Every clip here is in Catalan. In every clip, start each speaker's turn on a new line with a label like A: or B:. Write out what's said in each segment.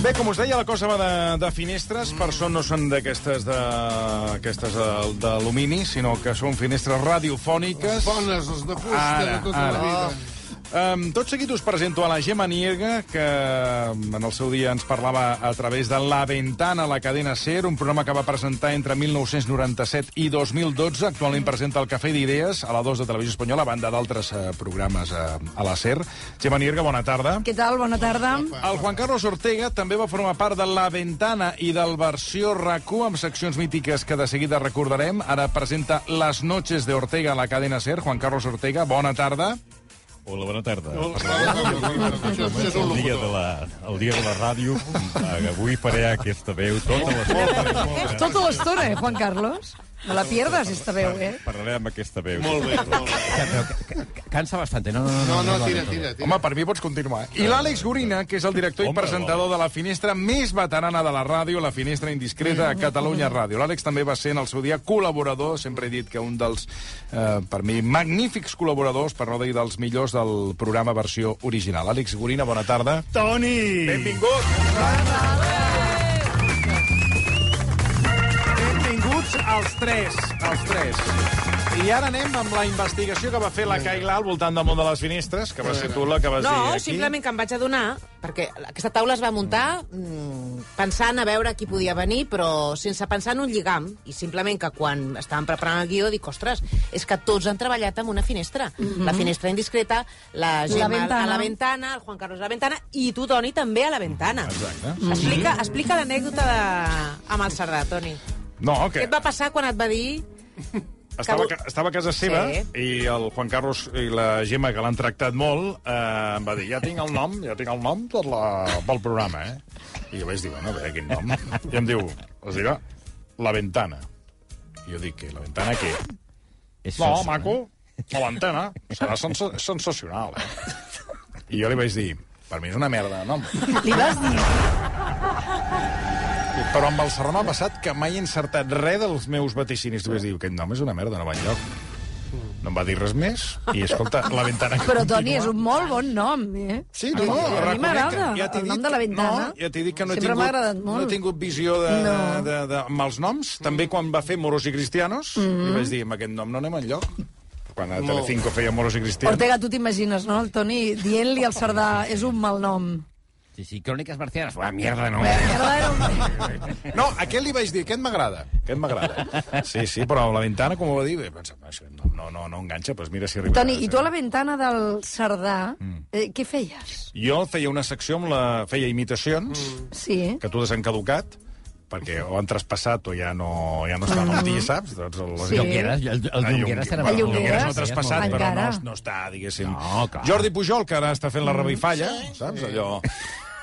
A: Bé, com us deia, la cosa va de, de finestres. Per sort no són d'aquestes de, aquestes de- d'alumini, sinó que són finestres radiofòniques.
B: Bones, les de fusta,
A: Ara,
B: de tota
A: ara.
B: la vida.
A: Um, tot seguit us presento a la Gemma Nierga, que em, en el seu dia ens parlava a través de La Ventana, la cadena SER, un programa que va presentar entre 1997 i 2012. Actualment presenta el Cafè d'Idees a la 2 de Televisió Espanyola, a banda d'altres eh, programes a, a la SER. Gemma Nierga, bona tarda.
C: Què tal? Bona tarda.
A: El Juan Carlos Ortega també va formar part de La Ventana i del versió rac amb seccions mítiques que de seguida recordarem. Ara presenta Les noches de Ortega a la cadena SER. Juan Carlos Ortega, bona tarda.
D: Hola, bona tarda.
B: Això, això és un
D: El dia, de
B: locutor.
D: la, el dia de la ràdio, eh, avui faré aquesta veu tota l'estona.
C: Tota l'estona, eh, Juan Carlos? No la pierdas, esta veu, eh?
D: Parlaré amb aquesta veu.
B: Molt bé, molt bé.
E: Cansa bastante. No, no, no.
B: No, no, tira, tira, tira.
A: Home, per mi pots continuar. eh? I l'Àlex Gorina, que és el director i
D: Home,
A: presentador de la finestra més veterana de la ràdio, la finestra indiscreta a Catalunya Ràdio. L'Àlex també va ser en el seu dia col·laborador, sempre he dit que un dels, eh, per mi, magnífics col·laboradors, per no dir dels millors del programa versió original. Àlex Gorina, bona tarda.
F: Toni!
A: Benvingut. Benvinguts als tres, als tres. I ara anem amb la investigació que va fer la Cailà al voltant del món de les finestres, que va ser tu la que vas dir
G: No,
A: aquí.
G: simplement que em vaig adonar, perquè aquesta taula es va muntar mm, pensant a veure qui podia venir, però sense pensar en un lligam. I simplement que quan estàvem preparant el guió dic, ostres, és que tots han treballat amb una finestra. La finestra indiscreta, la Gemma
C: ventana.
G: a la ventana, el Juan Carlos a la ventana, i tu, Toni, també a la ventana.
A: Exacte.
G: Mm-hmm. Explica, explica l'anècdota de... amb el Cerdà, Toni.
A: No,
G: Què
A: que
G: et va passar quan et va dir...
A: estava,
G: que-
A: ca- estava a casa seva
G: Sí.
A: i el Juan Carlos i la Gemma, que l'han tractat molt, eh, em va dir, ja tinc el nom, ja tinc el nom per la, pel programa, eh? I jo vaig dir, bueno, a veure quin nom. I em diu, es dirà La Ventana. I jo dic, que La Ventana què?
E: És
A: No,
E: fals,
A: maco, La Ventana serà sens sensacional, eh? I jo li vaig dir, per mi és una merda de nom.
C: Li vas dir...
A: Però amb el Serrà m'ha passat que mai he encertat res dels meus vaticinis. Tu vas dir, aquest nom és una merda, no va enlloc. No em va dir res més. I, escolta, la ventana... que
C: Però,
A: continua.
C: Toni, és un molt bon nom, eh?
A: Sí, no, no,
C: a mi m'agrada, el nom de la ventana.
A: No, ja t'he dit que no he,
C: Sempre m'ha
A: tingut,
C: agradat
A: no
C: molt.
A: he tingut visió de, no.
C: No.
A: de, de, amb els noms. També quan va fer Moros i Cristianos, mm
C: Mm-hmm.
A: -hmm. i vaig dir, amb aquest nom no anem enlloc. Quan a Telecinco feia Moros i Cristianos.
C: Ortega, tu t'imagines, no? El Toni dient-li al Cerdà és un mal nom.
E: Sí, sí, Cròniques marcianes. Uah, mierda, no.
C: Cerdà era un...
A: No, aquest li vaig dir, aquest m'agrada, aquest m'agrada. Sí, sí, però la ventana, com ho va dir, bé, pensava, això no, no, no, no enganxa, doncs mira si arriba.
C: Toni, i tu a la ventana del Cerdà,
A: Mm.
C: eh, què feies?
A: Jo feia una secció amb la... feia imitacions, mm.
C: Sí, eh?
A: que totes han caducat, perquè o han traspassat o ja no, ja no estan al dia, saps? Doncs el,
C: Mm. Sí.
E: Junqueras, el- el
A: Ah,
E: Junqueras era
A: bueno,
C: molt-
A: Junqueras no
C: Junqueras,
A: ha traspassat,
C: sí, és molt
A: però no,
C: encara. Mm.
A: no està, diguéssim.
E: No, clar.
A: Jordi Pujol, que ara està fent la revifalla, saps? Allò...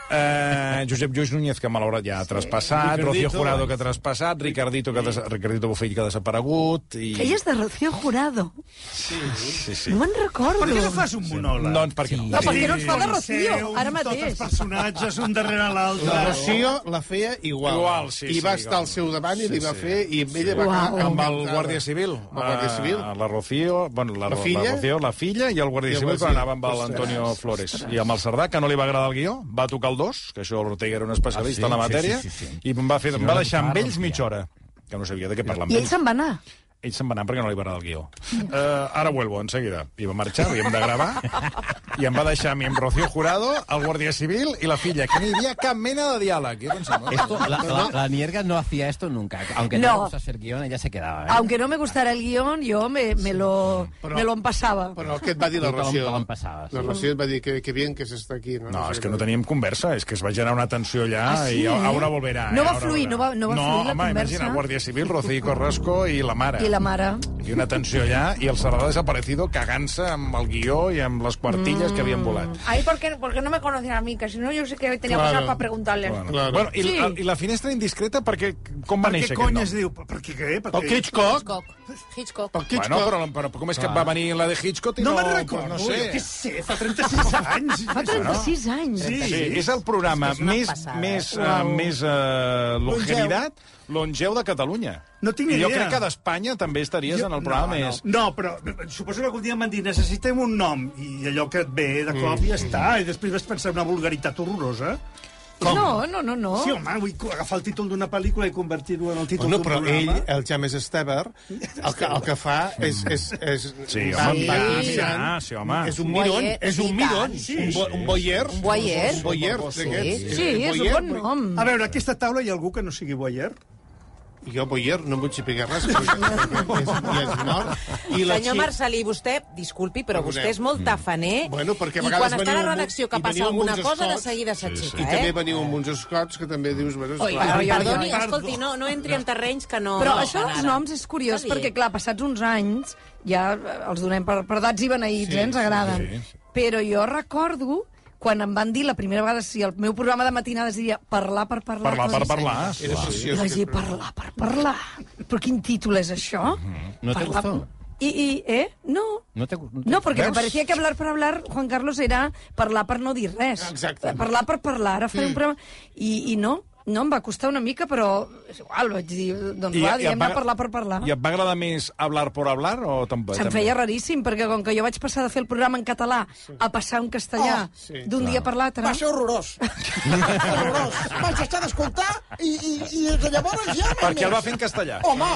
A: Eh, Josep Lluís Núñez, que malaurat ja ha traspassat, Rocío Jurado, que ha traspassat, Ricardito, que ha des... Ricardito Bofill, que ha desaparegut... I...
C: Ella és de Rocío Jurado.
A: Sí, sí.
C: No me'n recordo.
F: Per què no fas un monòleg?
A: Doncs perquè
C: No,
A: no.
C: perquè no ens
F: Sí,
C: fa de
F: com
C: Rocío,
F: seu,
C: ara
F: Tots els
C: mateix.
F: personatges, un darrere l'altre.
B: La Rocío la feia igual.
A: Igual, sí,
B: I va
A: sí,
B: estar
A: igual.
B: al seu davant i
A: Sí,
B: li va
A: sí.
B: fer, i amb ella va
C: Uau.
B: acabar
A: amb el
B: encantada.
A: Guàrdia Civil.
B: Amb el Guàrdia Civil.
A: Eh, la Rocío, bueno, la,
B: La
A: la,
B: filla?
A: la Rocío, la filla i el Guàrdia
B: I el
A: Civil,
B: Guàrdia
A: però
B: Civil.
A: anava amb
B: Ostres.
A: l'Antonio Flores. I amb el Cerdà, que no li va agradar el guió, va tocar el 2, que això l'Ortega era un especialista
E: Ah, sí?
A: en la
E: Sí,
A: matèria,
E: sí, sí, sí.
A: i em va, fer,
E: Si
A: em
E: no
A: va
E: la
A: deixar amb
E: tocava,
A: ells
E: rompia.
A: mitja hora que no sabia de què parlar amb
C: I ell
A: ells.
C: se'n va anar.
A: Ells se'n van anar perquè no li va agradar el guió.
E: Mm.
A: Uh, ara vuelvo, en seguida. I va marxar, havíem de gravar, i em va deixar a mi amb Rocío Jurado, el Guàrdia Civil i la filla, que no hi havia cap mena de diàleg. Jo pensava,
E: Esto, la, la, la Nierga no hacía esto nunca. Aunque no,
C: No.
E: le gusta hacer guión, ella se quedaba. ¿eh?
C: Aunque no me gustara el guión, jo me, me lo, me lo empassava.
B: Però què et va dir la
E: Tothom
B: Rocío?
E: te l'empassava, sí.
B: La Rocío et va dir que, que bien que s'està aquí. No,
A: No, Ah, és
B: sé
A: que
B: què.
A: no teníem conversa, és que es va generar una tensió allà
C: Ah, sí?
A: i ara volverà.
C: No
A: eh,
C: va
A: ara volverà.
C: fluir, no va- no va fluir la
A: home,
C: conversa?
A: imagina, Guàrdia Civil, Rocío Corrasco i la mare.
C: I la mare...
A: I una tensió allà, i el Cerdà desaparecido cagant-se amb el guió i amb les quartilles mm. que havien volat.
H: Ahí porque, porque no me conocen a mí, que si no yo sé que tenía
B: Claro.
H: cosas para preguntarles.
A: Bueno,
B: Claro.
A: bueno i,
C: Sí.
A: la, i la finestra indiscreta, perquè, com va
F: Per
A: néixer
F: què
A: aquest
F: cony
A: nom?
F: es diu? Per què què? Per
B: El Hitchcock.
G: Hitchcock. Hitchcock.
B: El Hitchcock.
A: Bueno, però, però com és que va venir la de Hitchcock? i
F: No me'n recordo,
A: No
F: jo què
A: sé.
F: sé, fa 36 anys.
C: Fa 36 anys.
F: Sí.
A: Sí, és el programa
G: És que és una
A: més,
G: passada.
A: més,
F: eh?
A: uh, més uh, longevidat, longeu de Catalunya.
F: No tinc
A: I jo
F: idea.
A: crec que d'Espanya també estaries en el programa
F: no,
A: més...
F: No. no, però suposo que algun dia em van dir necessitem un nom, i allò que et ve de cop mm. ja està, i després vas pensar una vulgaritat horrorosa.
C: No, no, no, no.
F: Sí, home, vull co- agafar el títol d'una pel·lícula i convertir-ho en el títol
B: Bueno,
F: d'un
B: però ell,
F: programa.
B: el James Stever, el que, el que fa és... és, és
A: Sí,
B: va-
A: home,
B: va
A: va,
B: mirant.
A: mira, sí, home.
B: És un
G: Voyeur,
B: miron, és
G: i
B: un miron,
G: tant,
B: un, bo, un boyer.
C: Un voyeur.
B: Un boyer, d'aquests.
C: Sí, és un
B: Voyeur,
C: bon
B: voy-
C: nom.
F: A veure, a aquesta taula hi ha algú que no sigui voyeur?
B: Jo, boyer, no em vull xipigar res, perquè és, i és mort. I la
G: Senyor
B: Xi-
G: Marcelí, vostè, disculpi, però
B: Perdoneu.
G: vostè és molt tafaner
B: Bueno, perquè a
G: i
B: vegades
G: quan està a
B: veniu
G: la
B: amb un-
G: redacció
B: i
G: que passa
B: veniu amb
G: alguna
B: uns
G: cosa, de
B: escots.
G: seguida s'aixeca,
B: I
G: eh?
B: també veniu amb uns escots que també dius... Bueno,
C: Oi,
B: esclar.
C: oi, oi,
G: Perdoni,
F: perdó.
G: escolti, no, no entri en terrenys que no...
C: Però
G: no
C: això dels
G: fan ara.
C: noms és curiós,
G: Està bé.
C: perquè, clar, passats uns anys, ja eh, els donem per perdats i beneïts, eh, ens agraden.
D: sí, sí.
C: Però jo recordo quan em van dir la primera vegada si el meu programa de matinades diria parlar per parlar...
A: Parlar per
C: coses
A: parlar.
C: serioses.
B: Era
C: I
B: preciós.
C: vaig dir, parlar per parlar. Però quin títol és això?
E: Mm-hmm. ¿eh? No te
C: Parlar-
E: gustó?
C: I, i, eh? No.
E: No te, no te-
C: No, perquè
E: Veus?
C: me parecía que hablar per hablar, Juan Carlos, era parlar per no dir res.
B: Exacte.
C: Parlar per parlar, ara faré un programa... I, I no, no, em va costar una mica, però és igual, vaig dir, doncs va, diguem-ne parlar per parlar.
A: I et va agradar més hablar por hablar o tampoc?
C: Se'm feia raríssim, perquè com que jo vaig passar de fer el programa en català a passar en castellà
I: Oh,
B: sí.
C: d'un dia per l'altre...
I: Va ser horrorós. horrorós. Vaig deixar d'escoltar i, i, i des de llavors ja... no
A: Perquè el va
I: més.
A: fer en castellà.
I: Home,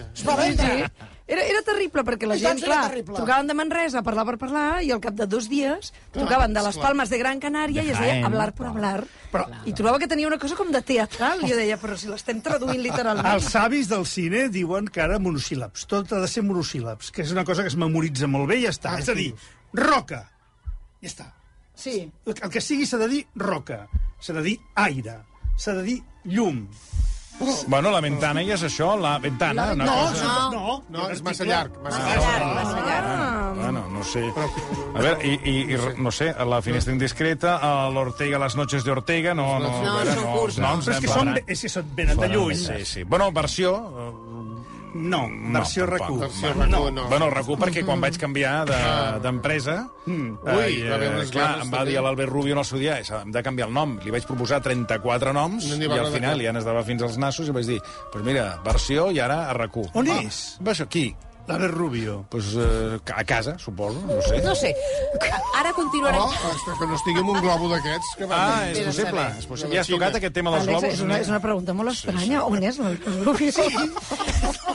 I: es va vendre.
C: Sí. Era, era terrible, perquè la
I: I
C: gent,
I: tant, era
C: clar,
I: terrible.
C: trucaven de Manresa a parlar per parlar i al cap de dos dies trucaven de les Palmes de Gran Canària i es deia
E: Jaén.
C: hablar per hablar. Però, I trobava que tenia una cosa com de teatral. I jo deia, però si l'estem traduint literalment.
F: Els savis del cine diuen que ara monosíl·labs. Tot ha de ser monosíl·labs, que és una cosa que es memoritza molt bé i ja està. és a dir, roca. Ja està.
C: Ah, Sí.
F: El que sigui s'ha de dir roca. S'ha de dir aire. S'ha de dir llum.
A: Bueno, la ventana ja és això, la ventana. una
B: No,
A: cosa-
B: no,
F: No,
B: no, és massa llarg. Massa
A: Ah,
G: Massa
B: llarg.
G: llarg, massa llarg.
A: Bueno, no sé. A veure, i, i, i re- no sé, la finestra indiscreta, a l'Ortega, les noches de Ortega, no... No,
G: No,
A: a veure,
G: són curts,
A: No,
G: no.
A: ens
F: Però és que,
A: anem
F: són,
A: parant.
F: és que són, venen de lluny.
A: Sí, sí. Bueno, versió...
F: No, versió
A: No,
F: RAC1.
B: Versió RAC1,
A: eh,
B: no. Ah.
A: Bueno, recu, perquè quan vaig canviar de- d'empresa...
F: Mm.
A: eh,
B: Ui, va haver unes
A: clar,
B: ganes
A: em va
B: també.
A: dir a l'Albert Rubio en el seu dia, "Eh, hem de canviar el nom. Li vaig proposar 34 noms
B: No n'hi
A: i
B: va
A: al
B: agradar
A: final
B: cap.
A: ja n'estava fins als nassos i vaig dir, pues mira, versió i ara a RAC1.
F: On
A: Ah,
F: és?
A: Va, això, qui?
F: L'Albert Rubio.
A: Pues, eh, a casa, suposo, no ho sé.
G: No sé, ara continuarem...
B: Oh, ostres, que no estigui amb un globo d'aquests. Que van
A: Ah, és
G: Vés a
A: possible.
G: saber.
A: És possible.
B: De la
A: Ja has tocat
B: Xina.
A: aquest tema dels
C: Àlex,
A: globus.
C: és una, és una pregunta molt estranya. On és l'Albert Rubio?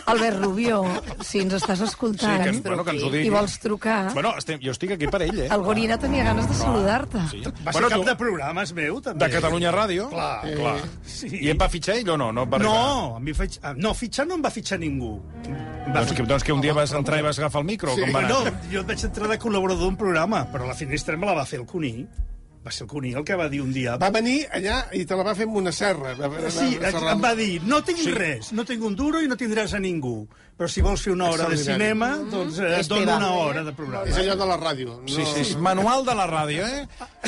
C: Albert Rubio, si ens estàs
A: Sí,
C: escoltant
A: que, bueno, que ens ho digui.
C: i vols trucar,
A: Bueno, estem, jo estic aquí per ell, eh?
C: el Gorina tenia ganes de saludar-te.
A: Sí.
F: Va ser
A: Bueno,
F: cap
A: tu,
F: de programes meu, també.
A: de Catalunya Ràdio.
F: Clar,
A: Eh, clar.
F: sí.
A: I em va fitxar ell o no? No, em va arribar.
F: No, a mi faig... ah, no, fitxar no em va fitxar ningú. Em Va
A: Doncs que, doncs que un dia vas entrar i vas agafar el micro, sí. com va anar?
F: No, jo vaig entrar de col·laborador d'un programa, però la finestra me la va fer el Cuní. Va ser el Cuní el que va dir un dia...
B: Va venir allà i te la va fer amb una serra. Va, va,
F: Sí,
B: va serrar-
F: em va dir, no tinc sí. res, no tinc un duro i no tindràs a ningú. Però si vols fer una hora de
B: Extraordinari.
F: cinema, doncs eh, et dono
G: teva.
F: una hora de programa.
B: És allò de la ràdio. No...
A: Sí, sí, sí. Manual de la ràdio, eh?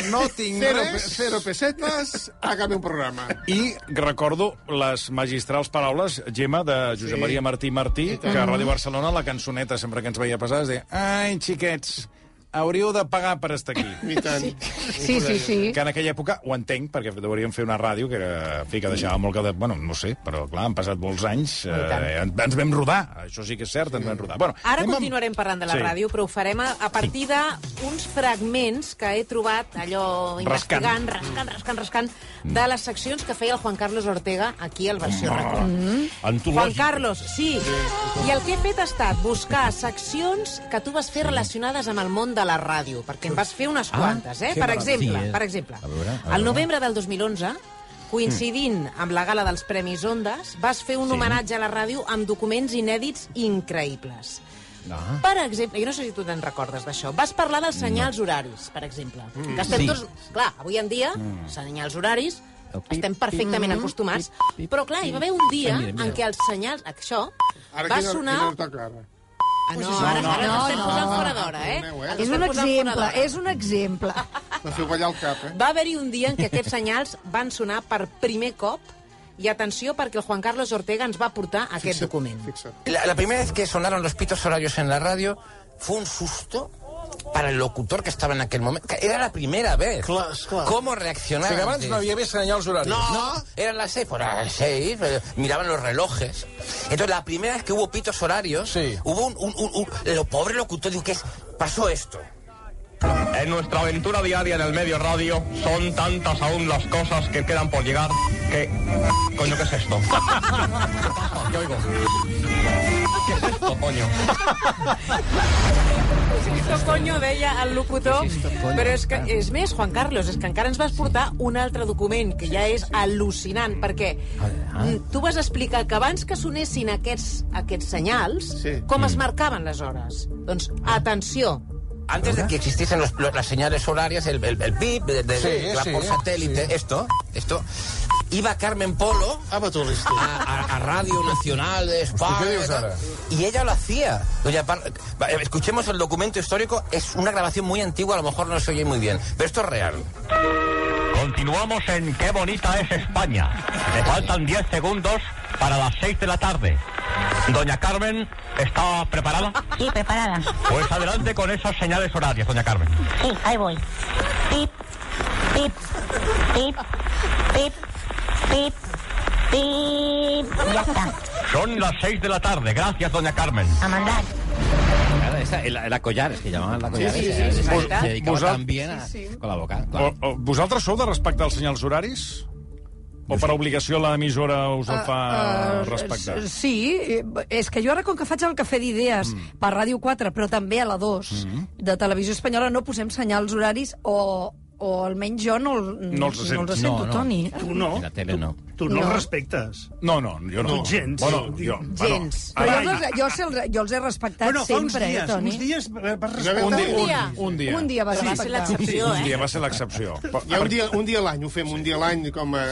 A: No tinc
B: Cero, pe-
A: res.
B: cero pesetes, hagame un programa.
A: I recordo les magistrals paraules, Gemma, de Josep
B: Sí.
A: Maria Martí Martí, que a Ràdio Barcelona la cançoneta sempre que ens veia passar es deia «Ai, xiquets, hauríeu de pagar per estar aquí».
B: I tant.
C: Sí, sí, sí.
A: que en aquella època, ho entenc, perquè deurien fer una ràdio que, era, en fi, que deixava molt que... De, bueno, no ho sé, però clar, han passat molts anys, eh, en- ens vam rodar, això sí que és cert, ens vam rodar. Bueno,
G: Ara
A: anem amb-
G: continuarem parlant de la
A: Sí.
G: ràdio, però ho farem a, a partir d'uns fragments que he trobat allò investigant, rascant, rascant, rascant, de les seccions que feia el Juan Carlos Ortega aquí al Versió Record. Juan
E: Antològic.
G: Carlos, sí. I el que he fet ha estat buscar seccions que tu vas fer relacionades amb el món de la ràdio, perquè en vas fer unes
E: Ah,
G: quantes, eh?
E: que
G: Per
E: maravilla.
G: exemple,
E: Sí, eh?
G: per exemple,
E: A veure, a veure.
D: Ah.
G: al novembre del 2011, coincidint amb la gala dels Premis Ondes, vas fer un homenatge a la ràdio amb documents inèdits increïbles.
E: Ah.
G: Per exemple, jo no sé si tu te'n recordes d'això, vas parlar dels senyals horaris, per exemple. Que estem
E: Sí.
G: tots... Clar, avui en dia, senyals horaris,
E: El pip,
G: estem perfectament acostumats, però clar, hi va haver un dia
E: Ah, mira, mira.
G: en què els senyals... Això
B: Ara
G: va
B: quina-
G: sonar...
B: quina hora toca ara?
G: Ah, no, ara,
C: no,
G: ara
C: no,
G: estem
C: no.
G: posant fora d'hora, eh?
B: Perdoneu, eh?
G: Els
C: És
G: estem
C: un
G: posant fora
C: exemple,
G: d'hora.
C: és un exemple.
B: Me feu ballar el cap, eh?
G: Va haver-hi un dia en què aquests senyals van sonar per primer cop i atenció perquè el Juan Carlos Ortega ens va portar aquest
B: Fixa't,
G: document.
B: Fixa't.
J: La, la primera vez que sonaron los pitos horarios en la radio fue un susto para el locutor que estaba en aquel momento. Que Era la primera vez.
B: Claro, es claro.
J: ¿Cómo
A: O
J: reaccionaron?
A: sigui, abans no hi havia senyals horaris.
J: No, eran las seis, pues a las seis, eh, miraban los relojes. Entonces, la primera vez que hubo pitos horarios,
A: Sí.
J: hubo un, un- un- un- Lo pobre locutor dijo que es... Pasó esto.
K: En nuestra aventura diaria en el medio radio son tantas aún las cosas que quedan por llegar que... Coño, ¿qué es esto? ¿Qué oigo? ¿Qué es esto, coño?
G: Esto coño deia el locutor, però és que és més, Juan Carlos, és que encara ens vas portar un altre document que ja és al·lucinant, perquè
E: Ah,
G: mm, tu vas explicar que abans que sonessin aquests, aquests senyals, sí. com es marcaven les hores. Doncs, atenció,
J: Antes de que existiesen los- lo- las señales horarias, el, el, el pip, de, de-
G: Sí,
J: de- la
G: sí,
J: por satélite, esto, esto. Iba Carmen Polo
G: Ah,
J: a,
G: pues
J: a- a Radio Nacional eh, de España.
A: ¿qué dios ahora?
J: y ella lo hacía. Doña Pan- eh, escuchemos el documento histórico, es una grabación muy antigua, a lo mejor no se oye muy bien, pero esto es real.
K: Continuamos en Qué bonita es España. Le faltan 10 segundos para las 6 de la tarde. Doña Carmen, ¿está preparada?
L: Sí, preparada.
K: Pues adelante con esas señales horarias, doña Carmen.
L: Sí, ahí voy. Pip, pip, pip, pip, pip, pip. Ya está.
K: Son las 6 de la tarde. Gracias, doña Carmen.
L: A mandar.
E: Claro, esa, la, la collares, que llamaban la collares.
A: sí, sí,
E: eh,
A: sí,
E: se-
A: sí.
E: se dedicaba
A: Vosal-
E: también a, con la boca.
A: O, o, vosaltres sou de respectar els senyals horaris? O per obligació l'emissora us el fa
C: Eh,
A: respectar?
C: s- Sí, eh, és que jo ara com que faig el cafè d'idees mm. per Ràdio 4, però també a la 2 mm. de Televisió Espanyola no posem senyals horaris o, o almenys jo Mm, no, el-
A: No els sento.
C: no els sento
A: No, no.
C: Toni.
F: Tu no.
E: La tele no.
F: Tu no,
C: No.
F: no. els respectes.
A: No, no, jo no.
F: Tu gens.
A: Bueno, jo,
C: Gens.
A: Bueno,
C: Però jo, els, jo, els, jo els he respectat
F: Bueno, fa uns
C: sempre,
F: dies,
C: eh, Toni?
F: uns dies vas
B: respectar.
A: un,
B: Un
A: dia,
B: dia.
A: un, un dia.
C: Un dia vas
B: Va ser
C: respectar.
B: l'excepció,
A: Un
B: eh?
A: dia va ser l'excepció.
B: Hi ha un dia, un dia a l'any, ho fem un dia a l'any com a...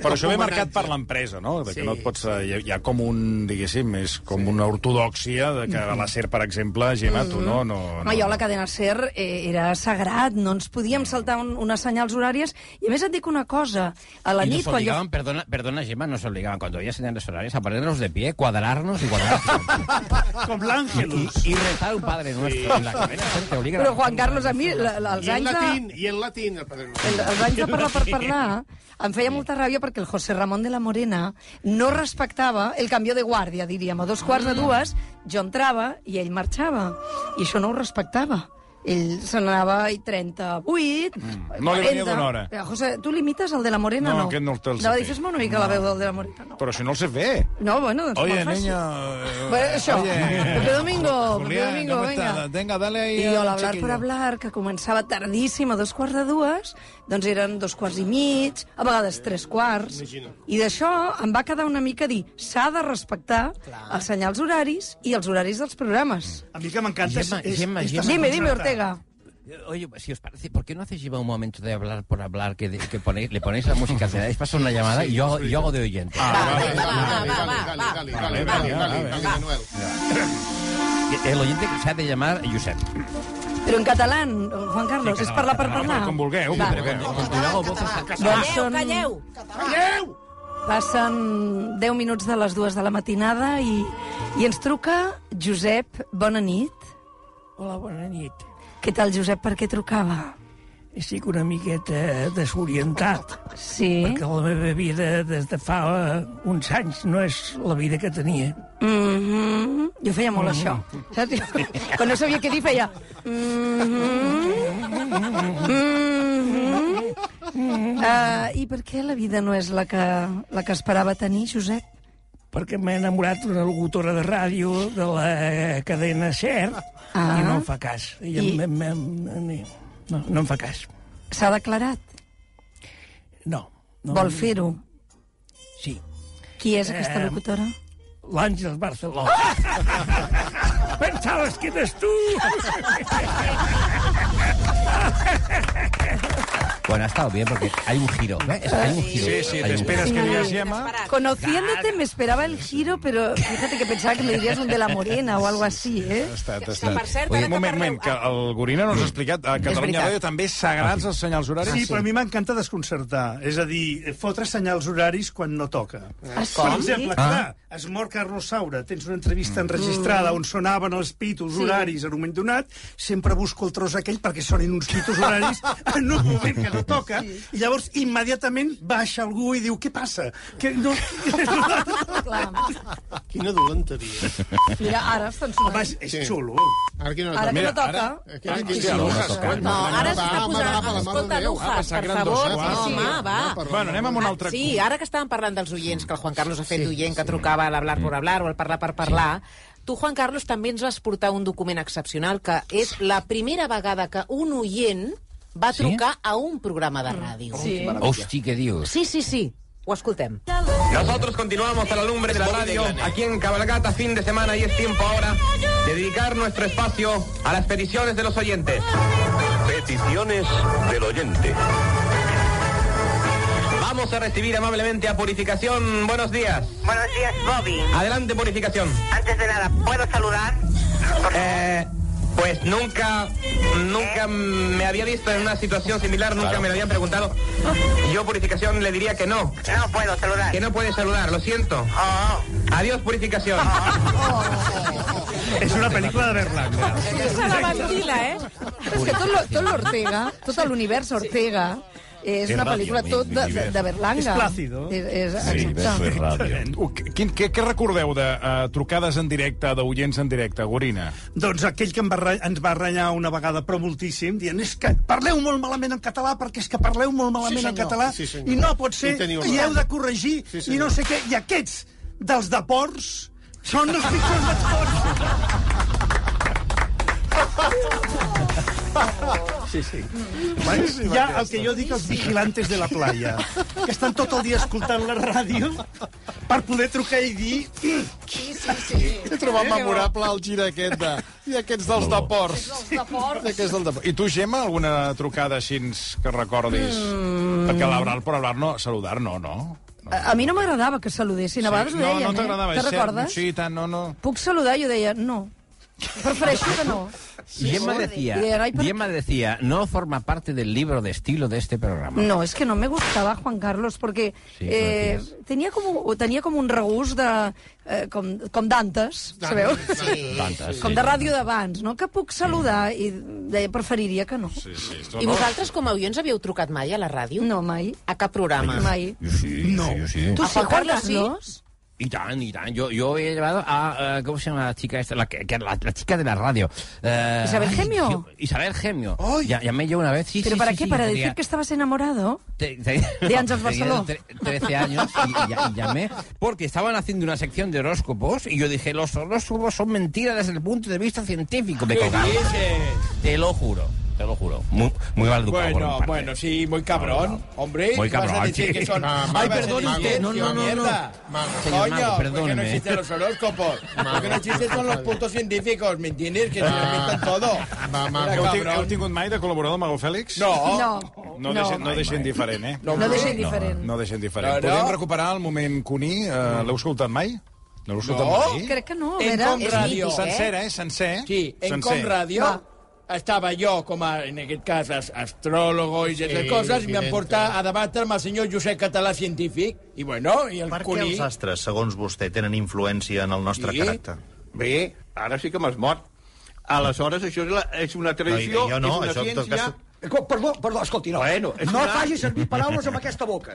A: Però això ve marcat per l'empresa, no? De que
B: Sí.
A: no et pots... eh, Hi ha, hi ha com un, diguéssim, és com una ortodoxia de que a la SER, per exemple, Gemma, tu no... no,
C: Home,
A: no.
C: jo la cadena SER eh, era sagrat, no ens podíem saltar un, unes senyals horàries. I a més et dic una cosa, a la
E: y
C: nit quan
E: nos
C: jo...
E: obligaban, perdona, perdona, Gemma, nos obligaban cuando había señales horarias a ponernos de pie, cuadrarnos y guardar
F: Com l'Àngelus.
E: y rezar un Padre Nuestro en la cadena. Te obligan a
C: Però Juan Carlos, a mi, la, la, els
B: I en
C: anys de...
B: latín, i en latín, el Ah, Padre
C: El-
B: Nuestro.
C: els anys de parlar per parlar em feia molta ràbia perquè el José Ramon de la Morena no respectava el canvió de guàrdia, diríem. A dos quarts
A: Ah.
C: de dues jo entrava i ell marxava. I això no ho respectava. Ell se n'anava i 38... Mm.
A: No li venia d'una hora.
C: José, tu limites el de la Morena,
A: No,
C: no?
A: aquest no el té el
C: No,
A: setè.
C: dices-me una mica no. la veu del de la Morena. No,
A: Però això no el sé fer.
C: no bueno, doncs
A: Oye,
C: molt fàcil.
A: niña... eh,
C: Bueno, això,
A: oye.
C: Pepe Domingo, Pepe
A: Julián,
C: Domingo,
A: ¿cómo está?
C: venga.
A: Venga, dale ahí
C: I jo,
A: al
C: l'Hablar per
A: chiquillo.
C: Hablar, que començava tardíssim, a dos quarts de dues, doncs eren dos quarts i mig, a vegades tres quarts. I d'això em va quedar una mica dir s'ha de respectar els senyals horaris i els horaris dels programes.
F: A mi que m'encanta és,
E: Gemma,
F: és,
E: Gemma,
F: és
E: Gemma.
C: Dime, dime, Ortega.
E: Oye, si os parece, ¿por qué no hacéis lleva un momento de hablar por hablar que, de- que ponéis, le ponéis la música, le dais paso a una llamada y yo, hago- yo hago de oyente?
A: Ah,
B: Dale, dale, dale, dale, dale, Manuel.
E: Que El oyente que se ha de llamar Josep.
C: Però en català, Juan Carlos, és parlar per parlar.
A: Com vulgueu.
C: Va.
A: com vulgueu.
C: Doncs són-
G: Calleu!
B: Calleu!
C: Passen 10 minuts de les dues de la matinada i, i ens truca Josep, bona nit.
M: Hola, bona nit.
C: Què tal, Josep, per què trucava?
M: Estic una miqueta desorientat.
C: Sí.
M: Perquè la meva vida des de fa eh, uns anys no és la vida que tenia.
C: Mhm. Jo feia molt
M: Mhm.
C: això. Saps? Jo- Quan no sabia què dir, feia... Mhm. Mhm.
M: Mm.
C: Eh, I per què la vida no és la que, la que esperava tenir, Josep?
M: Perquè m'he enamorat d'una locutora de ràdio de la cadena SER
C: Ah.
M: i no em fa cas. I...
C: I-
M: Em, em, em, em, no, no em fa cas.
C: S'ha declarat?
M: No. no
C: Vol fer-ho?
M: Sí.
C: Qui és aquesta
M: Eh,
C: locutora?
M: L'Àngels
C: Ah!
M: Barcelona. Pensaves que eres tu!
E: Bueno, ha estado bien porque hay un giro. ¿eh? Es- Hay un giro.
A: Sí, sí,
E: Hay un
A: t'esperes
E: giro.
A: que digues Gemma.
C: Conociéndote me esperaba el giro, pero fíjate que pensaba que me dirías un de la morena o algo así, ¿eh?
A: Està,
G: Que,
A: està. Mm.
G: per cert,
A: Oye,
G: ara
A: un
G: que
A: moment, moment, que el Gorina no ens ha explicat. A Catalunya
C: veritat.
A: Ràdio també sagrats els senyals horaris.
F: Sí, però a mi m'encanta desconcertar. És a dir, fotre senyals horaris quan no toca.
C: Ah,
F: Per
C: sí?
F: exemple, clar, es mor Carlos Saura, tens una entrevista enregistrada on sonaven els pitos
C: Mm. Sí.
F: horaris en un moment donat, sempre busco el tros aquell perquè sonin uns pitos horaris en un moment que retoca, i llavors immediatament baixa algú i diu, què passa? Que no...
B: Quina dolenteria.
C: Mira, ara estan sonant.
F: Home, és, és
B: Sí.
F: xulo.
B: Ara que no
C: Ara que no toca.
G: Eh,
B: Aquí
G: Ah,
B: no
C: Aquí
B: toca.
C: no
B: Ara
G: No, ara Ah, s'està posant... Escolta, Nujas, per favor, sí, home, va.
A: Bueno, anem amb un altre...
G: Sí, ara que estàvem parlant dels oients, que el Juan Carlos ha fet sí, Mm. d'oient que trucava a l'Hablar por Hablar o al Parlar per Parlar, Tu, Juan Carlos, també ens vas portar un document excepcional que és la primera vegada que un oient va
E: Sí?
G: trucar a un programa de ràdio. Oh,
E: Sí. Hosti, què dius?
G: Sí, sí, sí. Ho escoltem.
K: Nosotros continuamos a la lumbre de la radio aquí en Cabalgata fin de semana y es tiempo ahora de dedicar nuestro espacio a las peticiones de los oyentes. Peticiones del oyente. Vamos a recibir amablemente a Purificación. Buenos días.
N: Buenos días, Bobby.
K: Adelante, Purificación.
N: Antes de nada, ¿puedo saludar?
K: Eh, pues nunca, nunca me había visto en una situación similar, nunca me lo habían preguntado. Yo, Purificación, le diría que no.
N: No puedo saludar. Oh.
K: Que no puede saludar, lo siento. Adiós, Purificación.
F: És una pel·lícula de Berlanga.
C: Se la ventila, eh? Però és que tot lo- tot l'Ortega, tot l'univers Ortega, és
A: És
C: una
A: ràdio,
C: pel·lícula tot de, de, de Berlanga.
A: És Plácido.
C: És, és,
A: Sí,
C: exacte.
A: ràdio. Què, Uh, què, què recordeu de uh, trucades en directe, d'oients en directe, Gorina?
F: Doncs aquell que em va, re- ens va renyar una vegada, però moltíssim, dient és que parleu molt malament en català perquè és que parleu molt malament
B: Sí,
F: en
B: senyor.
F: català
B: Sí, senyor.
F: i no pot ser,
B: I teniu
F: i,
B: raó.
F: heu de corregir,
B: Sí,
F: i no
B: senyor.
F: sé què. I aquests dels deports són els pitjors de tots. Sí, sí.
B: Boníssim,
F: Hi ha Mm. el
B: aquesta.
F: que jo dic els vigilantes de la playa, que estan tot el dia escoltant la ràdio per poder trucar i dir... "Mm, Sí,
N: sí, sí.
A: He trobat memorable el gir aquest de... I aquests dels deports.
N: Deports.
A: Aquests del deport. I tu, Gemma, alguna trucada així que recordis? Mm. Perquè l'hablar per hablar no, saludar no, no.
C: A, a mi no m'agradava que saludessin, a vegades ho
A: no,
C: deien,
A: no t'agradava.
C: eh?
A: és
C: Te'n
A: cert.
C: recordes?
A: Sí, i tant, no, no.
C: Puc saludar? Jo deia, no. Prefereixo que no.
E: Gemma decía,
C: I era, "Ai, per
E: Gemma decía, no forma parte del libro de estilo de este programa.
C: No, es que no me gustaba Juan Carlos porque
E: Sí,
C: eh, tenia, com, o tenia com un regús de, eh, com, com d'antes, sabeu?
E: Sí. Tantes,
C: Com
E: sí.
C: de ràdio d'abans, no? Que puc saludar i deia, preferiria que no.
A: Sí, sí,
G: I vosaltres, com a oients, havíeu trucat mai a la ràdio?
C: No, mai.
G: A cap programa?
C: Mai.
E: Yo sí, no. yo sí.
G: Tu
E: Ah,
G: sí, Juan Carlos, sí?
E: Y tan, y tan. Yo, yo he llevado a, eh, ¿cómo se llama la chica esta? La, que- que- la, la chica de la radio. Eh,
C: Isabel
E: ay,
C: Gemio.
E: tío, Isabel Gemio. Ya, llamé yo una vez. Sí,
C: ¿Pero
E: sí,
C: para
E: sí,
C: qué?
E: sí,
C: ¿Para
E: tenía-
C: decir que estabas enamorado?
E: Te- te-
C: De Àngels
E: tenía
C: Barceló.
E: tre- 13 años y, y ya- y llamé porque estaban haciendo una sección de horóscopos y yo dije, los horóscopos son mentiras desde el punto de vista científico. Me colgaron. Te lo juro, te lo juro. Muy, muy mal educado por mi
O: Bueno,
E: parte.
O: bueno, sí, muy cabrón. Hombre,
E: Muy
O: vas a
E: cabrón,
O: decir
E: sí.
O: que son...
E: Ah,
O: Ay,
E: mago,
O: perdone
E: mago,
O: usted,
E: no, no, no,
O: mierda.
E: Señor
O: Coño,
E: mago,
O: ¿por qué no
E: perdóneme.
O: existen los horóscopos? Porque no existen son los puntos científicos, ¿me entiendes? Que se
E: Ah.
O: inventan todo.
A: Ah,
O: Era
A: Heu, tinc, heu
O: cabrón.
A: tingut mai de col·laborador amb el Fèlix?
O: No.
C: No.
A: No,
O: No.
A: deixen, no deixen diferent, eh?
O: No, No deixen no. diferent.
A: No, no deixen diferent.
O: No, no.
A: Podem recuperar el moment cuní? Uh, L'heu escoltat mai? No l'heu escoltat
O: No.
A: mai?
C: Crec que no, a
O: En
C: veure...
O: Com Ràdio.
A: Sencer, eh? Sencer.
O: Sí, en
A: Sencer.
O: Com Ràdio estava jo, com a, en aquest cas, as- astròlogo i aquestes
B: Sí,
O: coses, i m'han
B: evidente.
O: portat a debatre amb el senyor Josep Català, científic, i bueno, i el
P: Per què
O: Cuní...
P: els astres, segons vostè, tenen influència en el nostre
O: Sí.
P: caràcter?
Q: Bé, ara sí que m'has mort. Aleshores, això és, la, és una tradició,
P: No, jo no,
Q: és una
P: això en tot
Q: ciència...
P: cas-
Q: Cas... Perdó, perdó, escolti, no. Bueno, és
R: No
Q: una...
R: faci servir paraules amb aquesta boca.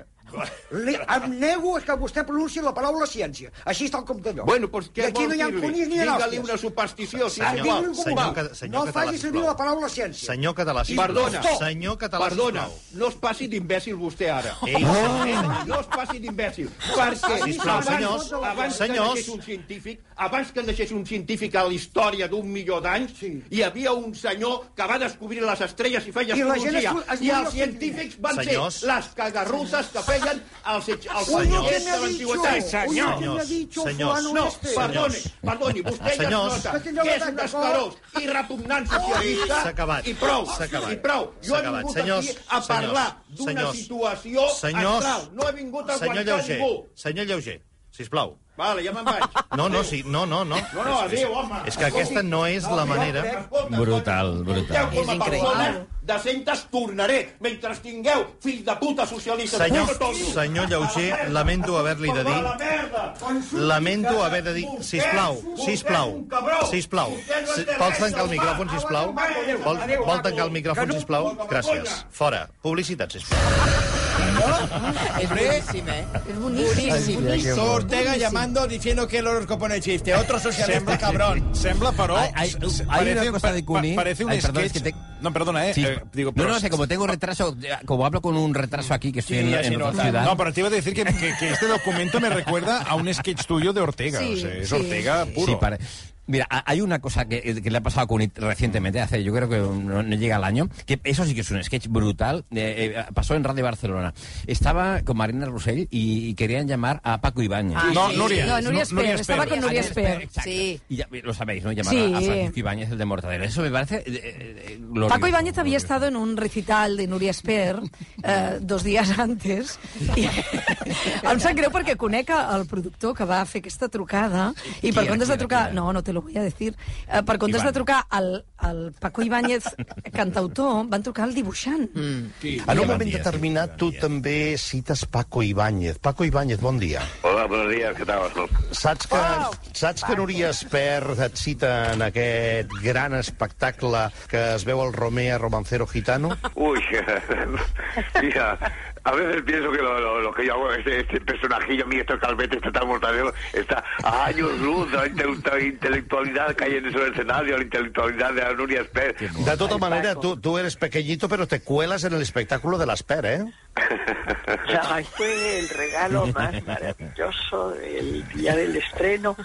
R: Li, em nego que vostè pronunci la paraula ciència. Així està el compte d'allò.
Q: Bueno, doncs
R: I
Q: què
R: aquí no hi ha
Q: vols
R: conills
Q: dir-li?
R: ni Ah,
Q: Digue-li
R: hòsties.
Q: una superstició, si
R: Senyor,
Q: no vol.
P: senyor Ca- senyor
R: no
P: Català,
R: faci servir
P: sisplau.
R: la paraula ciència.
P: Senyor Català, sisplau.
Q: Perdona,
P: Senyor Català,
Q: perdona,
P: sisplau.
Q: no es passi d'imbècil vostè ara.
P: Ei,
Q: no, no es passi d'imbècil. Perquè
P: Sisplau,
Q: abans,
P: senyors,
Q: abans
P: senyors.
Q: que naixés un científic, abans que naixés un científic a la història d'un milió d'anys, hi havia un senyor que va descobrir les estrelles i feia
R: I la gent
Q: astrologia.
R: es- es
Q: I
R: moria
Q: els científics van
P: Senyors.
Q: ser les cagarrutes que feien els, els
P: Uy, lo que
Q: senyors
P: me
Q: de
P: ha dicho,
Q: l'antiguitat.
P: uy, lo que me ha dicho
Q: senyors,
P: fulano
Q: no,
P: este.
Q: perdoni,
P: Senyors.
Q: perdoni, vostè ja es
P: Senyors.
Q: nota
P: Que tindrà un
Q: que és
P: atac
Q: un
P: de cor.
Q: escarós i repugnant socialista.
P: S'ha acabat.
Q: I prou,
P: S'ha acabat.
Q: i prou. Jo
P: S'ha
Q: he
P: acabat.
Q: vingut
P: Senyors,
Q: aquí a parlar
P: senyors,
Q: d'una
P: senyors.
Q: situació
P: Senyors.
Q: astral. No he vingut a
P: Senyor
Q: guanyar
P: Lleuger,
Q: ningú.
P: senyor Lleuger, sisplau.
S: Vale, ja me'n vaig.
Q: No, no, sí, no, no, no.
S: No, no, adéu, home.
Q: És que aquesta no és la manera...
E: Brutal,
S: Deu
E: brutal.
S: com a persona decentes tornaré mentre tingueu fills de puta socialistes.
Q: Senyor,
S: putos.
Q: senyor Lleuger, lamento haver-li de dir... Lamento haver de dir... Sisplau, sisplau, sisplau. Si- Vols tancar el micròfon, sisplau? Vol, vol tancar el micròfon, sisplau? Gràcies. Fora. Publicitat, sisplau.
T: Es buenísimo, ¿eh? Es
Q: buenísimo.
T: buenísimo. Ortega llamando diciendo que el horóscopo no existe. Otro socialista cabrón.
A: Sembla, però...
T: Hay- hay-
A: se-
T: hay una
A: parece-
T: cosa de
A: pa-
T: Cuní.
A: Parece un
E: Ay, perdón,
A: sketch...
E: es que te-
A: No, perdona, eh?
E: Sí.
A: eh, digo,
E: no,
A: pero-
E: no, es que como tengo retraso, como hablo con un retraso aquí que estoy en, en otra ciudad.
A: No, pero te iba a decir que, que- que este documento me recuerda a un sketch tuyo de Ortega.
E: Sí,
A: o sea, es
E: sí.
A: Ortega puro.
E: Sí, pare- Mira, ha- hay una cosa que, que le ha pasado a Cunit recientemente, hace yo creo que no, no llega al año, que eso sí que es un sketch brutal, eh, eh, pasó en Radio Barcelona. Estaba con Marina Rusell y, y querían llamar a Paco Ibáñez.
A: Ah, No, sí. Núria.
C: No, Núria Esper, estaba con Núria Esper.
E: Sí. Y ya, eh, lo sabéis, ¿no? Llamar
C: Sí.
E: a Francisco Ibáñez, el de Mortadelo. Eso me parece... eh, eh, eh, glorioso.
C: Paco Ibáñez había estado en un recital de Núria Esper eh, dos dies antes. I em sap greu perquè conec el productor que va fer aquesta trucada i
I: Qui
C: per
I: era,
C: comptes
I: qui
C: de
I: era,
C: trucar...
I: qui era?
C: No, no te lo voy a decir. Eh, per comptes de
I: Ibáñez.
C: trucar al, al Paco Ibáñez, cantautor, van trucar al dibuixant. Mm.
P: En un moment determinat, tu també cites Paco Ibáñez. Paco Ibáñez, bon dia.
B: Hola, buenos días, ¿qué tal?
P: Saps que, saps que Núria Espert et cita en aquest gran espectacle que es veu al Romea Romancero Gitano?
B: Uy, mira, a veces pienso que lo, lo- lo que yo hago, este, este personajillo mío, este calvete, este tal mortadelo, está a años luz de la inte- intelectualidad que hay en esos escenarios, la intelectualidad de Nuria Esper.
P: De tota manera, tu, tu eres pequeñito, pero te cuelas en el espectáculo de l'Espert, eh?
U: O sea, fue el regalo más maravilloso del día del estreno,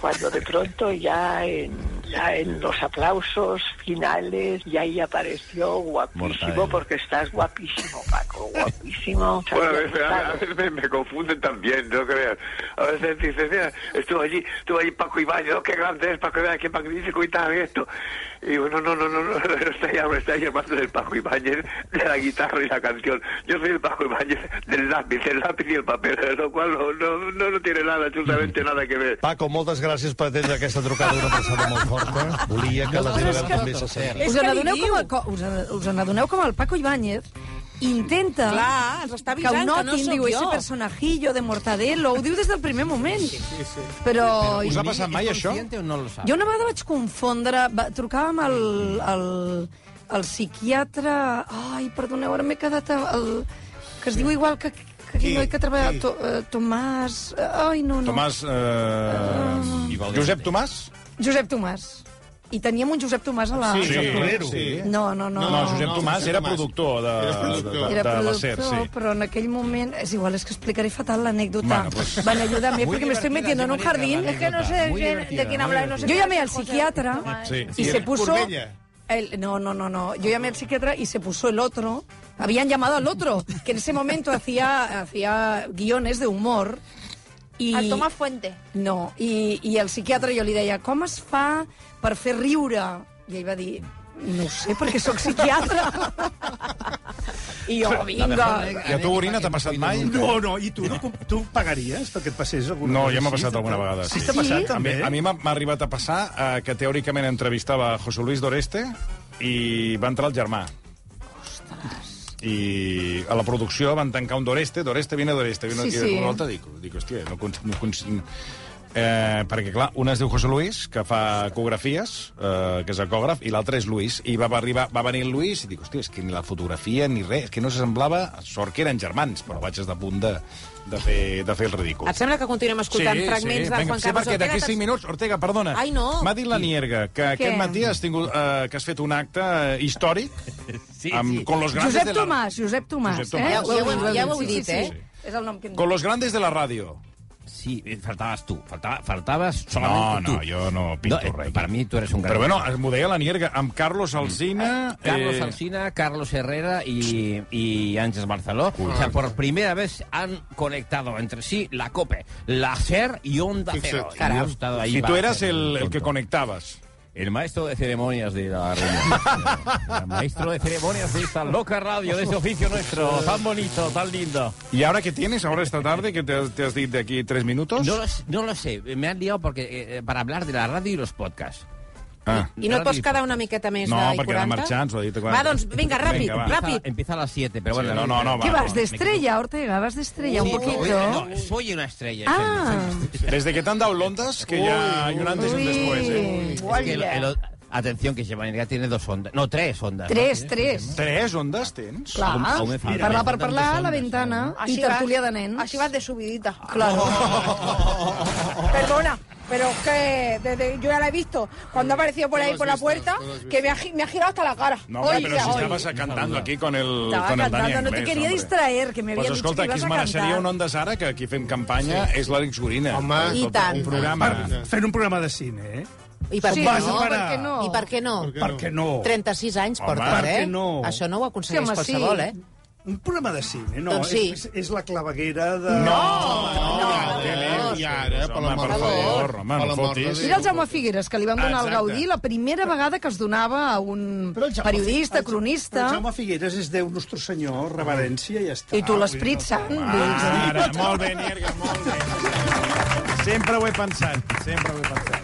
U: cuando de pronto ya en, ya en los aplausos finales, ya ahí apareció guapísimo,
B: Mortadelo.
U: porque estás guapísimo, Paco, guapísimo.
B: Bueno, a veces, a veces me, me confunden también, no creas. A veces dices, mira, estuvo allí, estuvo allí Paco Ibáñez, oh, qué grande es Paco Ibáñez, qué magnífico y tal, y esto. Y digo, no, no, no, no, no, no, está ya, me está llamando del Paco Ibáñez, de la guitarra y la canción. Yo soy el Paco Ibáñez del lápiz, el lápiz y el papel, lo cual no, no, no, no tiene nada, absolutamente nada que ver.
P: Paco, moltes gràcies per atendre aquesta trucada d'una persona molt forta. Volia que la teva veu també se senti.
C: Us n'adoneu com, el, co- us, en- us n'adoneu com el Paco Ibáñez intenta
G: Clar, ens està
C: que
G: avisant
C: ho
G: que no
C: notin,
G: sóc
C: diu,
G: jo.
C: ese personajillo de Mortadelo, ho diu des del primer moment. Però...
A: Us ha passat mai, això?
E: o no lo sabe?
C: Jo una vegada vaig confondre... Va, trucàvem al, al, al psiquiatre... Ai, perdoneu, ara m'he quedat... a- El, que es diu igual que, que aquell
A: Qui?
C: noi que treballa...
A: Qui?
C: To, eh, Tomàs... Ai, no, no.
A: Tomàs... Eh... Josep Tomàs?
C: Josep Tomàs. I teníem un Josep Tomàs a la...
Q: Ah,
C: No, no, no.
A: No, Josep Tomàs era productor de, de, de,
C: Era
A: de la
C: productor,
A: SER, sí.
C: però en aquell moment... És igual, és que explicaré fatal l'anècdota.
A: Bueno, pues-
C: Van ayudarme,
A: Muy
C: porque me estoy metiendo en un jardín.
I: Es que no sé de quién, de quién hablar. No sé
C: Yo
I: qué
C: llamé al
I: hacer, José.
C: psiquiatra
I: Sí.
C: y
I: ¿Y
C: se
I: eres
C: puso...
I: Corbella?
C: el- no, no, no, no. Yo llamé al psiquiatra y se puso el otro. Habían llamado al otro, que en ese momento hacía, hacía guiones de humor. I...
I: Al Tomás Fuente.
C: No, i, i el psiquiatre jo li deia, com es fa per fer riure? I ell va dir, no ho sé, perquè sóc psiquiatre. I jo, vinga...
F: eh,
A: I a tu, Orina, t'ha passat mai?
F: No, no, i tu, no, com- tu pagaries perquè et passés alguna
A: No,
F: cosa
A: ja m'ha
F: així?
A: passat alguna vegada.
F: Sí, t'ha passat, també? eh?
A: A mi, a mi m'ha m'ha arribat a passar eh, que teòricament entrevistava José Luis d'Oreste i va entrar el germà. i a la producció van tancar un d'Oreste, d'Oreste viene d'Oreste, viene
C: Sí,
A: sí,
C: sí.
A: sí. l'altre dic, dic, hòstia, no, cons- no cons- Eh, perquè, clar, una es diu José Luis, que fa ecografies, eh, que és ecògraf, i l'altra és Luis. I va, arribar, va venir el Luis i dic, hòstia, és que ni la fotografia ni res, és que no s'assemblava, sort que eren germans, però vaig estar a punt de, de, fer, de fer el ridícul.
G: Et sembla que continuem escoltant fragments de
A: Vinga,
G: Juan
A: sí,
G: Carlos
A: perquè d'aquí
G: Ortega?
A: 5 minuts, Ortega, perdona.
G: Ai, no.
A: M'ha dit la Nierga que
G: Què?
A: aquest matí has, tingut, eh, que has fet un acte eh, històric sí, amb, sí. con los grandes
C: Josep
A: de la...
C: Tomàs, Josep Tomàs.
A: Josep Tomàs.
C: Eh?
A: Ja ho- ja ho-
C: Sí, sí,
A: ja ho heu
C: sí,
A: dit,
C: sí,
A: eh?
C: sí. És el nom que em
A: Con los grandes de la radio.
E: Sí, eh, faltabas tú. Faltaba, faltabas solamente
A: no,
E: tú.
A: yo no pinto rey.
E: Para mí tú eres un gran... Mm. Eh,
A: Però bueno, m'ho deia la Nierga, amb Carlos Alsina... eh,
E: Carlos Alsina, Carlos Herrera y, y Ángel Barceló. O sea, por primera vez han conectado entre sí la COPE, la SER y Onda Cero.
A: Exacte.
E: Y yo he estado eh. ahí
A: Si
E: para
A: tú eras
E: hacer
A: el, el que
E: tonto.
A: conectabas.
E: el maestro de ceremonias de la reunión. El maestro de ceremonias de esta loca radio, de este oficio nuestro, tan bonito, tan lindo.
A: ¿Y ahora qué tienes? ¿Ahora esta tarde que te, has- te has dicho de aquí tres minutos?
E: No lo, s- no lo sé, me han liado porque, eh, para hablar de la radio y los podcasts.
A: Ah.
G: I no et pots quedar una miqueta més
E: No,
G: de
E: perquè ha de
G: 40?
E: marxar, ens ho ha dit
G: Va,
E: quan-
G: doncs, vinga, ràpid,
E: Vinga, va.
G: ràpid.
E: Empieza a las 7, pero
A: Sí,
E: bueno.
A: no, no, no,
C: ¿Qué vas, de este estrella, Ortega? ¿Vas de estrella un poquito?
E: No, soy una estrella.
C: Ah,
A: Desde que te han dado ondas, que ya hay un antes y un después, ¿eh?
E: Es que el- el- atención, que Xemanega tiene dos ondas. No, tres ondas. ¿no?
C: tres, tres.
A: Tres ondas tens?
C: Clar,
E: Aún me falta.
C: parlar per parlar, la ventana i tertúlia de nens.
H: Així vas de subidita.
C: Claro.
H: Perdona, pero es que desde, yo ya la he visto. Cuando ha aparecido por ahí por la puerta, que me ha, gi- me ha girado hasta la cara.
A: No, hombre,
H: Oye,
A: pero si
H: oye.
A: estabas cantando aquí con el,
H: Estaba
A: con el
H: cantando,
A: Dani
H: no te
A: Anglès,
H: quería
A: hombre.
H: distraer, que me habían
A: Pues
H: dicho
A: escolta,
H: que
A: qui es
H: ibas a
A: mereixeria
H: cantar.
A: un Ondes ara, que aquí fem campanya,
F: Sí.
A: és l'Àlex Gorina.
F: Home,
G: I tant.
A: Un programa.
F: Fent un programa de cine, eh?
G: I per,
F: Sí,
G: què
F: vas a
G: no?
F: parar.
G: per què no? I per què no?
F: Per què no?
G: 36 anys
F: Home,
G: portes,
F: per
G: eh?
F: què no?
G: Això no ho aconsegueix
F: Sí, home, sí.
G: qualsevol, eh?
F: Un programa de cine, no?
G: Doncs sí.
F: és, és, és la claveguera de...
B: no, I ara, per l'amor de Déu. Per l'amor de
C: Mira el Jaume Figueres, que li van donar el
F: Exacte.
C: Gaudí la primera vegada que es donava a un periodista,
F: Però
C: cronista...
F: el Jaume Figueres és Déu Nostre Senyor, reverència i ja està.
C: I tu l'Esprit Sant, dius...
A: Ara, Ah, molt bé, Nierga, molt bé. Sempre ho he pensat, sempre ho he pensat.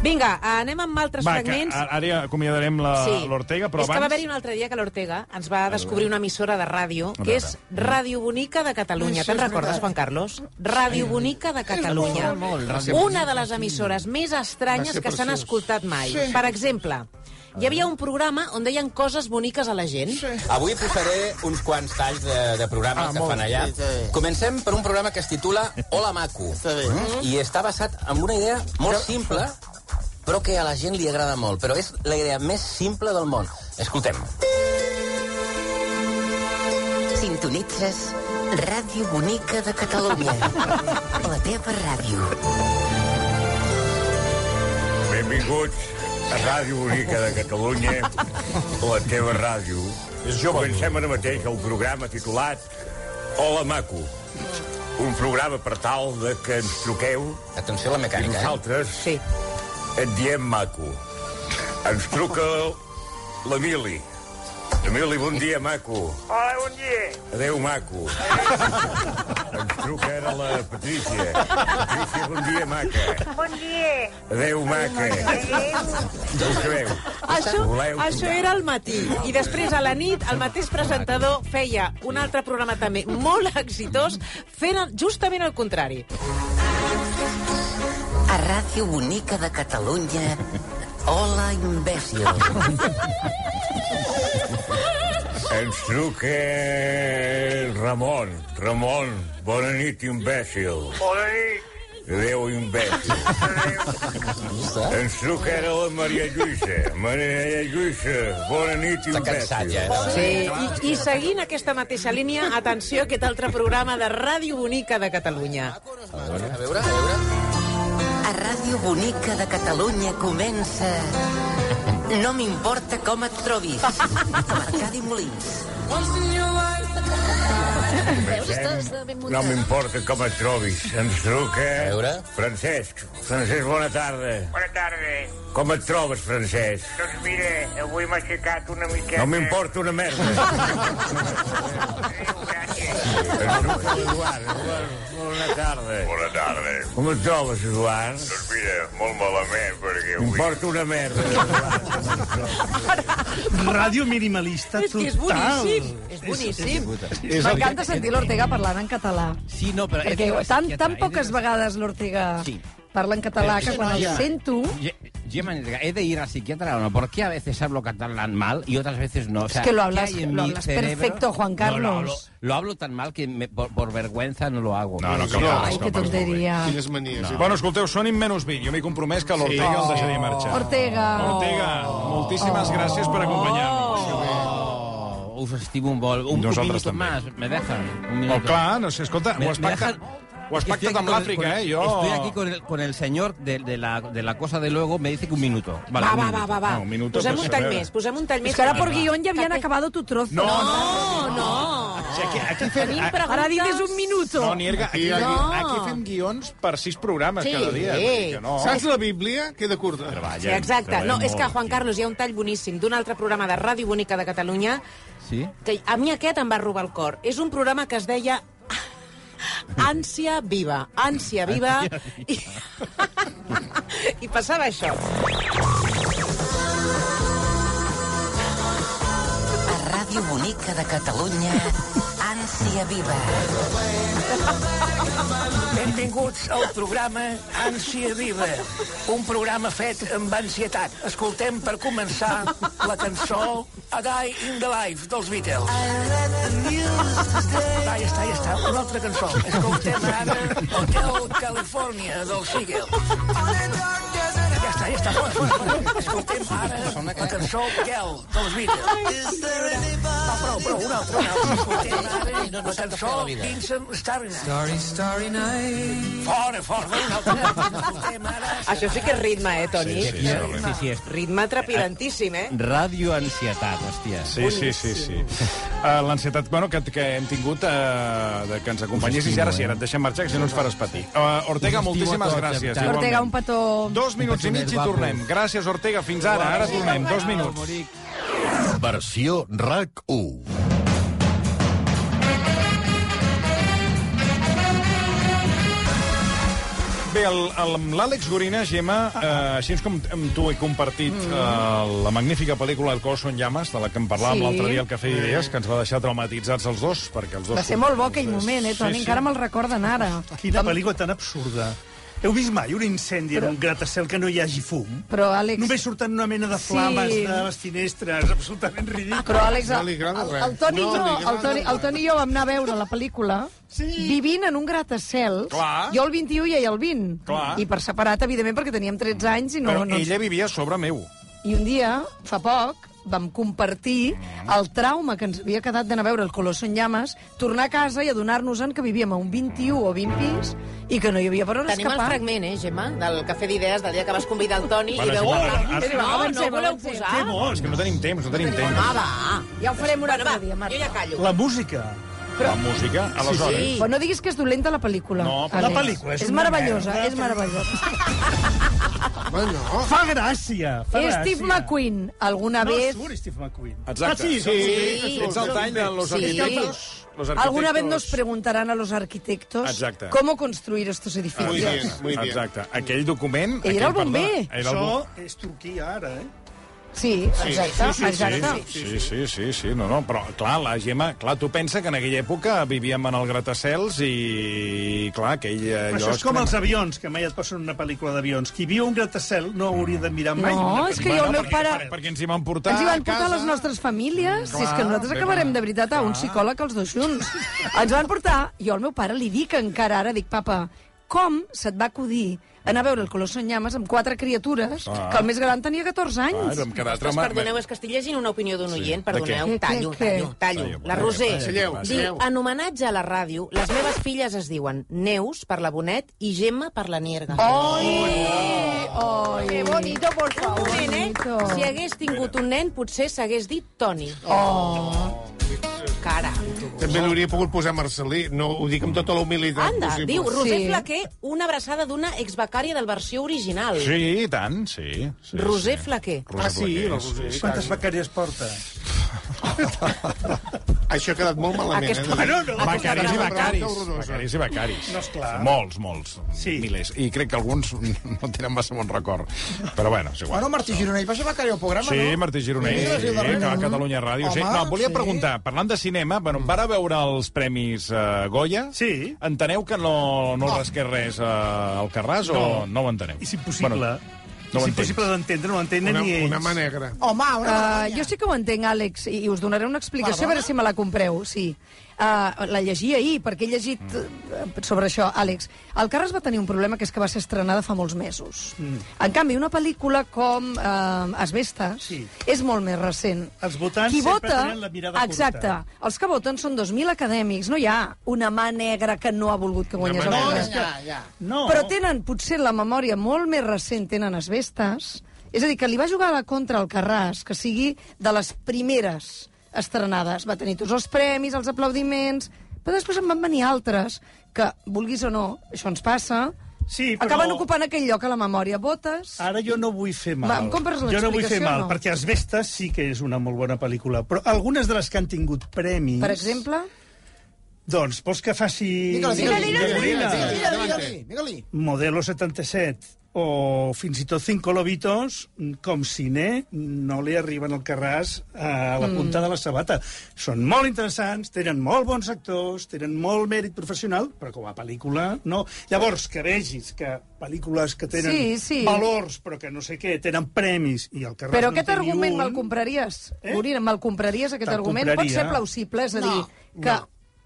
G: Vinga, eh, anem amb altres
A: Va, que
G: fragments.
A: a- ara ja acomiadarem la-
G: Sí.
A: l'Ortega, però
G: és que va haver-hi
A: abans...
G: un altre dia que l'Ortega ens va descobrir una emissora de ràdio,
A: A
G: que
A: veure.
G: és Ràdio Bonica de Catalunya.
E: Això
G: Te'n
E: és
G: recordes,
E: veritat.
G: Juan Carlos? Ràdio Bonica de Catalunya.
E: molt, molt, Ràdio
G: Una de les emissores més
E: Va
G: estranyes
E: ser
G: que s'han
E: preciós.
G: escoltat mai.
E: Sí.
G: Per exemple, hi havia un programa on deien coses boniques a la gent.
J: Avui posaré uns quants talls de, de programes
G: Ah,
J: que
G: molt
J: fan
G: bé,
J: allà.
G: sí, sí.
J: Comencem per un programa que es titula Hola Maco. Mm? I està basat en una idea molt simple, però que a la gent li agrada molt. Però és la idea més simple del món. Escoltem.
D: Sintonitzes Ràdio Bonica de Catalunya. La teva ràdio.
S: Benvinguts a Ràdio Bonica de Catalunya, la teva ràdio. Comencem ara mateix el programa titulat Hola Maco. Un programa per tal de que ens truqueu
J: Atenció a la mecànica,
S: i
J: eh?
S: nosaltres sí. et diem Maco. Ens truca l'Emili. Emili, bon dia, Maco.
V: Hola, bon dia.
S: Adéu, Maco. Ens truca ara la Patrícia. Patrícia, bon dia, Maca.
V: Bon dia.
S: Adéu, maca. No ho creu.
G: Això,
S: Voleu
G: això
S: trucar?
G: era al matí. I després, a la nit, el mateix presentador feia un altre programa també molt exitós, fent el- justament el contrari.
D: A Ràdio Bonica de Catalunya. Hola, imbècil.
S: Ens truca el Ramon. Ramon, bona nit, imbècil.
V: Bona nit.
S: Adéu, imbècil. Ens truca ara la Maria Lluïsa. Maria Lluïsa, bona nit, imbècil.
G: Sí, i, i seguint aquesta mateixa línia, atenció a aquest altre programa de Ràdio Bonica de Catalunya.
D: A Ràdio Bonica de Catalunya comença... No m'importa com et trobis. Amb Arcadi Molins.
V: eh.
S: No m'importa com et trobis. Ens truca... Francesc. Francesc, bona tarda.
V: Bona tarda.
S: Com et trobes, Francesc?
V: Doncs mira, avui m'ha aixecat una miqueta...
S: No m'importa una merda. Eduard, bona tarda.
V: Bona tarda.
S: Com et trobes, Eduard?
V: Doncs mira, molt malament, perquè avui...
S: M'importa una merda.
F: Ràdio minimalista total.
C: és boníssim,
G: és boníssim.
C: M'encanta sentir l'Ortega parlant en català.
E: Sí, no, però...
C: Perquè tan, tan poques vegades l'Ortega parla en català
E: Pero
C: que
E: es
C: quan el
E: ya.
C: sento...
E: Ye- Gemma, he de ir al psiquiatra o no. ¿Por qué a veces hablo catalán mal y otras veces no? O sea,
C: Es que lo
E: ¿qué
C: hablas-
E: hay en
C: lo
E: mi
C: hablas
E: cerebro?
C: perfecto, Juan
E: No, lo hablo-
C: Carlos.
E: lo hablo tan mal que me- por, por vergüenza no lo hago.
A: No, no, que
E: lo
A: parles, Ai, que que parles
C: tonteria.
A: Quines manies.
C: eh?
A: No. Bueno, escolteu, són in menys 20. Jo m'he compromès que l'Ortega
C: Sí.
A: el deixaré marxar.
C: Ortega.
A: eh. Ortega,
C: Oh.
A: moltíssimes gràcies per acompanyar-nos.
E: Us Oh. estimo molt. Un, un
A: Nosaltres
E: minuto
A: també.
E: más, me dejan. Un
A: Oh,
E: minuto.
A: clar, no sé, escolta,
E: Me-
A: ho has
E: me
A: pactat-
E: dejan-
A: ho has
E: Estoy
A: pactat
E: aquí
A: amb
E: con el-
A: l'Àfrica,
E: con el-
A: eh, jo.
E: Estoy aquí con el, con el señor de, de la, de la cosa de luego, me dice que un minuto. Vale,
G: Va,
E: un
G: va, va,
E: minuto.
G: va, va. posem un tall més, posem un tall més.
C: És que ara per guion ja havien acabat tu trozo.
G: No, no, no.
A: aquí, aquí fem...
G: Tenim preguntes... Ara digues un minuto.
A: No, Nierga, aquí, aquí,
G: No.
A: aquí fem guions per sis programes
G: Sí.
A: cada dia.
G: Sí.
A: vull dir Que no.
G: Saps
A: la Bíblia? Queda curta.
G: Sí, exacte. No, és que, Juan Carlos, hi ha un tall boníssim d'un altre programa de Ràdio Bonica de Catalunya
E: Sí?
G: que a mi aquest em va robar el cor. És un programa que es deia Ànsia Viva. Ànsia Viva. I, I passava això.
D: A Ràdio Bonica de Catalunya, ànsia viva.
I: Benvinguts al programa Ànsia Viva, un programa fet amb ansietat. Escoltem per començar la cançó A Die in the Life dels Beatles. Va, ja està, ja està. Una altra cançó. Escoltem ara Hotel California dels Seagulls. Ja està, ja està. Fora, fora, fora. Escoltem ara la cançó Girl dels Beatles. Va, prou, prou, una altra. Una altra. Escoltem ara la cançó Vincent Starry Night.
L: Starry, starry night.
I: Fora, fora, una altra.
G: Això sí que és ritme, eh, Toni?
E: Sí, sí, sí, sí, sí, és
G: Ritme trepidantíssim, eh?
E: Ràdio ansietat, hòstia.
A: Sí, sí, sí, sí. Uh, L'ansietat bueno, que, que hem tingut uh, de que ens acompanyessis i ara sí, ara et deixem marxar, que si no ens faràs patir. Uh, Ortega, moltíssimes gràcies.
C: Ortega,
A: igualment.
C: un petó...
A: Dos minuts i mig i tornem. Gràcies, Ortega. Fins ara. Ara tornem. Dos minuts.
M: Versió RAC 1.
A: Bé, el- el- amb l'Àlex Gorina, Gemma, eh, així és com amb tu he compartit
C: Mm.
A: eh, la magnífica pel·lícula El cos són llames, de la que en parlàvem
C: Sí.
A: l'altre dia al Cafè d'Idees, que ens va deixar traumatitzats els dos, perquè els dos...
C: Va ser molt bo aquell moment, eh, Toni? Encara me'l recorden ara.
F: Quina pel·lícula tan absurda. Heu vist mai un incendi en un gratacel que no hi hagi fum?
C: Però, Àlex...
F: Només surten una mena de flames
C: Sí.
F: de les finestres, absolutament ridícul.
C: Ah, Però, Àlex,
F: li agrada
C: el,
F: res.
C: el, Toni
F: No
C: i jo,
F: li
C: el,
F: agrada
C: Toni, el Toni i jo vam anar a veure la pel·lícula sí. vivint en un gratacels,
A: Clar.
C: jo el 21 i ell el 20.
A: Clar.
C: I per separat, evidentment, perquè teníem 13 anys i no...
A: Però
C: no ens-
A: ella vivia a sobre meu.
C: I un dia, fa poc, vam compartir el trauma que ens havia quedat d'anar a veure el Colosso en Llames, tornar a casa i adonar-nos-en que vivíem a un 21 o 20 pis i que no hi havia per on
G: Tenim el
C: escapar.
G: fragment, eh, Gemma, del cafè d'idees, del dia que vas convidar el Toni
A: Bueno,
G: i veu...
A: és igual, ara-
G: No, no
C: avancem,
G: voleu
C: avancem.
G: posar?
A: Que bon! És que no tenim temps, no tenim temps.
G: Ah, va.
C: Ja ho farem un
G: Bueno,
C: altre
G: va,
C: dia, Marta.
G: jo ja callo.
F: La música.
A: La música, aleshores...
C: Però no diguis que és dolenta la pel·lícula.
A: No,
C: Àlex.
F: la pel·lícula és
C: És
F: una
C: meravellosa,
F: merda.
C: és meravellosa.
F: Bueno. Fa gràcia, fa gràcia.
C: Steve McQueen, alguna
F: no
C: vez...
F: surt Steve McQueen.
A: Exacte.
F: Ah, sí,
A: Sí,
F: sí.
A: ets el tall de los arquitectos. Los arquitectos.
C: Alguna vez nos preguntarán a los arquitectos
A: Exacte. Ah,
C: cómo construir estos edificios.
A: Exacte. Aquell document...
C: Ell era el
A: aquell, perdó,
C: bomber.
A: Era el bo-
F: Això és Turquia, ara, eh?
C: Sí, exacte, exacte.
A: Sí, sí, sí, sí, no, no, però clar, la Gemma, clar, tu pensa que en aquella època vivíem en el gratacels i clar, eh, que ell...
F: Però això és com els avions, que mai et posen una pel·lícula d'avions. Qui viu un gratacel no hauria de mirar mai.
C: No,
F: una
C: és que jo el
F: pel·lícula.
C: meu pare...
A: Perquè ens hi van portar
C: Ens hi van
A: a
C: portar
A: casa.
C: les nostres famílies. si és que nosaltres
A: bé,
C: acabarem de veritat a un psicòleg els dos junts. Ens van portar... Jo al meu pare li dic encara ara, dic, papa, com se't va acudir anar a veure el Colosso en Llames amb quatre criatures
A: Clar.
C: que el més gran tenia 14 anys?
A: Clar, em quedava
G: Ostres,
A: traumat.
G: perdoneu, és que estic llegint una opinió d'un oient,
A: de
G: perdoneu,
A: què?
G: tallo,
A: Què, què?
G: tallo, tallo.
A: Ai,
G: La
A: bueno,
G: Roser
A: passa, passa.
G: diu, en homenatge a la ràdio, les meves filles es diuen Neus per la Bonet i Gemma per la Nierga. Oi!
C: Oi!
H: Qué bonito, por favor.
G: Un nen, eh? Si hagués tingut un nen, potser s'hagués dit Toni.
C: Oh!
G: Cara.
B: També l'hauria pogut posar Marcelí. No, ho dic amb tota la humilitat
G: Anda,
B: possible.
G: diu Roser Flaquer, una abraçada d'una exbecària del versió original.
A: Sí, i tant, sí. sí
G: Roser
A: sí.
G: Flaquer.
A: Roser Flaquer, Ah, sí, sí.
F: Quantes becàries porta?
B: Això ha quedat molt malament.
F: Aquest- Bueno, no,
A: Becaris i
F: no, no,
A: becaris.
F: no, no, no.
A: Becaris i becaris.
F: No, esclar.
A: Molts, molts. Sí. Milers. I crec que alguns no tenen massa bon record. Però bueno, és igual.
W: Bueno, Martí Gironell va ser becari al programa,
A: Sí,
W: no?
A: Martí Gironell,
W: Sí,
A: sí,
W: sí, darrere,
A: que va a
W: no?
A: Catalunya Ràdio. sí.
W: Home,
A: No, volia
W: sí.
A: preguntar, parlant de cinema, bueno,
F: Mm.
A: em van a veure els premis eh, Goya. Sí. Enteneu que no, no, no. rasqués res eh, al Carràs o
F: No.
A: no ho enteneu?
F: És impossible.
A: no ho
F: és
A: entenc.
F: impossible d'entendre, no ho entenen
A: Una-
F: ni ells.
A: una mà
B: negra.
C: Home, uh, jo sí que ho entenc, Àlex, i, i us donaré una explicació, a veure si me la compreu, sí. Uh, la llegia ahir, perquè he llegit mm. sobre això, Àlex. El Carles va tenir un problema, que és que va ser estrenada fa molts mesos. En canvi, una pel·lícula com eh, Asbestes sí. és molt més recent.
F: Els votants
C: Qui
F: sempre
C: vota,
F: tenen la mirada
C: Exacte.
F: curta.
C: Els que voten són 2.000 acadèmics. No hi ha una mà negra que no ha volgut que guanyés el
F: No,
C: Oscar.
F: és que... No.
C: Però tenen potser la memòria molt més recent, tenen asbestes. És a dir, que li va jugar a la contra al Carràs, que sigui de les primeres estrenades. Va tenir tots els premis, els aplaudiments... Però després en van venir altres que, vulguis o no, això ens passa...
F: Sí, però-
C: Acaben ocupant aquell lloc a la memòria. Botes...
F: Ara jo no vull fer mal.
C: Va, em compres
F: jo no vull fer
C: l'explicació,
F: mal,
C: no?
F: perquè Els Vestes sí que és una molt bona pel·lícula, però algunes de les que han tingut premis...
C: Per exemple?
F: Doncs, vols que faci...
Q: Digue-la, digue-la,
F: Molina?
Q: digue-la, digue-la, digue-la, digue-la, digue-la.
F: Modelo 77 o fins i tot Cinco Lobitos, com cine, no li arriben al Carràs eh, a la punta
Q: Mm.
F: de la sabata. Són molt interessants, tenen molt bons actors, tenen molt mèrit professional, però com a pel·lícula, no. Llavors, que vegis que pel·lícules que tenen
C: Sí, sí.
F: valors, però que no sé què, tenen premis, i el Carràs
C: Però
F: no
C: aquest
F: en té ni
C: argument
F: un.
C: me'l compraries, eh? Gorina, me'l compraries, aquest
F: Te'l
C: argument?
F: compraria.
C: Pot ser plausible, és a dir,
Q: No,
C: que...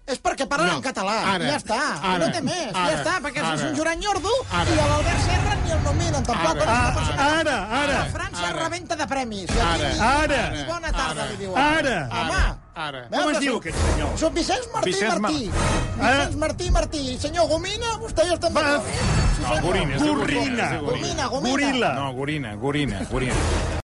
Q: És perquè parlen
C: No.
Q: en català,
C: Ara.
Q: ja està.
C: Ara.
Q: no té més,
C: Ara.
Q: ja està, perquè
C: Ara.
Q: és un Joran Yordo Ara. i a l'Albert Serra ni el nominen, tampoc. Ara. És una persona- Ara, ara. A França Ara. rebenta de premis. I aquí Ara. ni Ara. ni Bona tarda, Ara. li diuen. Ara. Home. Ara. Veus Com es que diu són- aquest senyor? Són Vicenç Martí Vicenç Mar- Eh? Martí. Vicenç Martí Martí. Senyor Gomina, vostè ja està amb el Gomina. Sí,
A: No,
Q: senyor.
A: Gorina. és de Gorina.
Q: Gomina, Gomina.
A: No, Gorina, Gorina, Gorina.